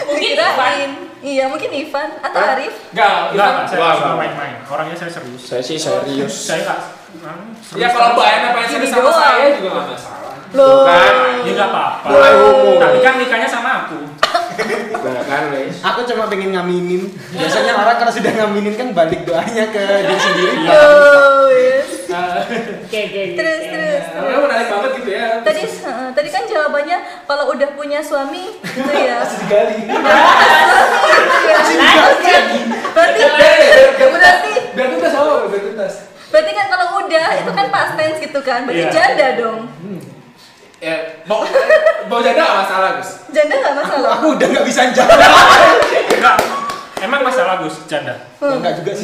[SPEAKER 3] Mungkin
[SPEAKER 4] Kirain. Iya, mungkin Ivan atau
[SPEAKER 6] Hah?
[SPEAKER 4] Arif.
[SPEAKER 1] Enggak,
[SPEAKER 5] Enggak,
[SPEAKER 1] itu-
[SPEAKER 5] saya
[SPEAKER 6] Wah,
[SPEAKER 5] nggak suka
[SPEAKER 6] wah.
[SPEAKER 5] main-main. Orangnya saya serius.
[SPEAKER 6] Saya sih serius.
[SPEAKER 5] Saya nggak. Hmm,
[SPEAKER 1] Ya
[SPEAKER 5] serius.
[SPEAKER 1] kalau Mbak Ena pengen serius sama
[SPEAKER 4] Gini doang.
[SPEAKER 1] saya juga nggak masalah.
[SPEAKER 4] Loh.
[SPEAKER 5] Ya nggak apa-apa.
[SPEAKER 6] Mulai homo.
[SPEAKER 5] Tapi kan nikahnya sama aku.
[SPEAKER 6] Nah kan wes.
[SPEAKER 7] Aku cuma pengen ngaminin. Biasanya orang kalau sudah ngaminin kan balik doanya ke diri sendiri.
[SPEAKER 6] Iya.
[SPEAKER 4] Oh, yes.
[SPEAKER 3] Oke, oke. oke.
[SPEAKER 4] Terus, terus.
[SPEAKER 1] Nah, ya, menarik banget gitu ya.
[SPEAKER 4] Tadi eh, tadi kan jawabannya kalau udah punya suami gitu ya. Iya,
[SPEAKER 1] digali.
[SPEAKER 7] Masih juga lagi.
[SPEAKER 4] Berarti berarti
[SPEAKER 1] Biar tuntas oh, biar tuntas.
[SPEAKER 4] berarti kan kalau udah itu kan past tense gitu kan. Berarti
[SPEAKER 5] Iya.
[SPEAKER 4] janda dong.
[SPEAKER 1] Ya, mau mau janda nggak masalah Gus.
[SPEAKER 4] Janda nggak masalah.
[SPEAKER 7] Aku udah nggak bisa jawab.
[SPEAKER 5] Enggak. Emang masalah Gus canda.
[SPEAKER 7] Ya, Enggak juga sih.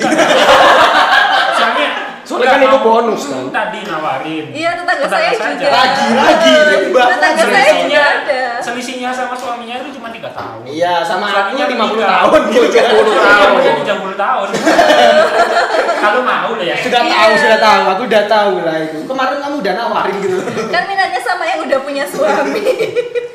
[SPEAKER 5] Soalnya
[SPEAKER 6] Soalnya
[SPEAKER 5] Nggak
[SPEAKER 6] kan itu
[SPEAKER 5] mau.
[SPEAKER 6] bonus, kan?
[SPEAKER 5] Tadi nawarin.
[SPEAKER 4] Iya, tetangga saya juga.
[SPEAKER 6] Lagi, lagi, Mbak.
[SPEAKER 4] Tetangga saya juga
[SPEAKER 5] Selisihnya,
[SPEAKER 4] ada.
[SPEAKER 5] selisihnya sama suaminya itu cuma 3 tahun.
[SPEAKER 7] Iya, sama
[SPEAKER 5] Suaminya
[SPEAKER 7] anaknya 50
[SPEAKER 5] tiga.
[SPEAKER 7] tahun gitu kan.
[SPEAKER 6] Iya.
[SPEAKER 5] Suaminya 30 tahun. Kalau mau udah ya.
[SPEAKER 7] Sudah
[SPEAKER 4] Iya.
[SPEAKER 7] tahu, sudah tahu. Aku udah tahu lah itu. Kemarin kamu udah nawarin gitu.
[SPEAKER 4] Kan minatnya sama yang udah punya suami.
[SPEAKER 3] Eh,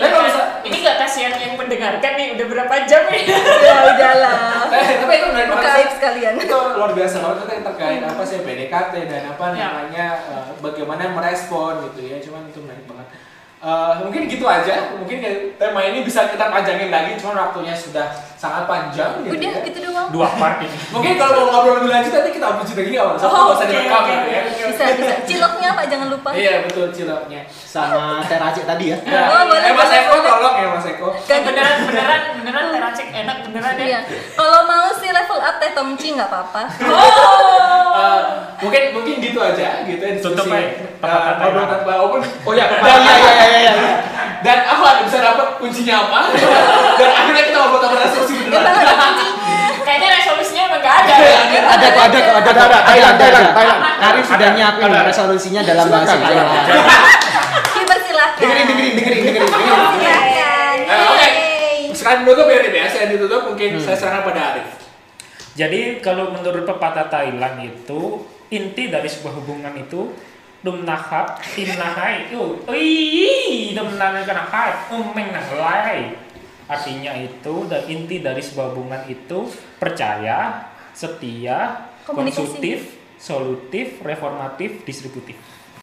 [SPEAKER 1] Tapi kalau
[SPEAKER 3] nggak
[SPEAKER 1] bisa-
[SPEAKER 3] ini nggak kasihan yang mendengarkan nih udah berapa jam ya?
[SPEAKER 4] ya udahlah.
[SPEAKER 1] Eh, tapi itu benar
[SPEAKER 4] Buka aib sekalian.
[SPEAKER 1] itu luar biasa banget itu yang terkait apa sih PDKT dan apa
[SPEAKER 3] Ya.
[SPEAKER 1] namanya eh, bagaimana merespon gitu ya cuman itu menarik banget Eh, mungkin gitu aja mungkin kayak tema ini bisa kita panjangin lagi cuman waktunya sudah sangat panjang gitu
[SPEAKER 4] Udah
[SPEAKER 1] ya.
[SPEAKER 4] gitu doang.
[SPEAKER 5] Dua part ini.
[SPEAKER 1] mungkin kalau mau ngobrol lebih lanjut nanti kita upload lagi nggak apa-apa
[SPEAKER 3] Oh,
[SPEAKER 1] usah
[SPEAKER 3] oke,
[SPEAKER 1] direkam
[SPEAKER 3] oke,
[SPEAKER 1] gitu ya
[SPEAKER 3] oke.
[SPEAKER 4] Bisa bisa. Ciloknya Pak jangan lupa.
[SPEAKER 1] iya betul ciloknya
[SPEAKER 7] Sama teracik tadi ya.
[SPEAKER 1] Nah,
[SPEAKER 4] Oh, boleh,
[SPEAKER 1] eh Mas
[SPEAKER 4] boleh,
[SPEAKER 1] Eko
[SPEAKER 4] boleh.
[SPEAKER 1] tolong ya Mas Eko
[SPEAKER 3] Dan beneran beneran beneran teracik enak beneran ya.
[SPEAKER 4] Iya. Kalau mau sih level up teh temci nggak apa-apa.
[SPEAKER 1] Eh, mungkin mungkin gitu aja gitu ya diskusi
[SPEAKER 5] Tutup aja. Tempat
[SPEAKER 1] Eh,
[SPEAKER 5] kata
[SPEAKER 1] ngobrol
[SPEAKER 5] ya.
[SPEAKER 1] tanpa open oh ya
[SPEAKER 7] Iya, iya, iya, iya, iya.
[SPEAKER 1] dan aku nggak bisa dapat kuncinya apa dan akhirnya kita ngobrol tanpa resolusi
[SPEAKER 4] Memang
[SPEAKER 1] beneran
[SPEAKER 4] ada kuncinya.
[SPEAKER 3] Kayaknya resolusinya emang nggak ada.
[SPEAKER 1] Iya,
[SPEAKER 3] ya.
[SPEAKER 7] Ada kok, ada kok, ada
[SPEAKER 6] Ada, ada, Thailand, Thailand, Thailand.
[SPEAKER 7] Karim sudah nyiapin resolusinya dalam bahasa
[SPEAKER 6] Silakan,
[SPEAKER 7] Thailand.
[SPEAKER 4] Dipersilakan.
[SPEAKER 7] Dengerin, dengerin, dengerin, dengerin. dengerin.
[SPEAKER 4] Silakan.
[SPEAKER 1] Eh, oke.
[SPEAKER 4] Yeay.
[SPEAKER 1] sekarang dulu biar ini biasa yang ditutup mungkin
[SPEAKER 5] Hmm.
[SPEAKER 1] saya serahkan pada Arif
[SPEAKER 5] Jadi kalau menurut pepatah Thailand itu inti dari sebuah hubungan itu dum nahap tin nahai itu ui dum nahai nahai umeng nahai artinya itu dan inti dari sebuah hubungan itu percaya setia
[SPEAKER 4] Komunikasi.
[SPEAKER 5] konstruktif solutif reformatif distributif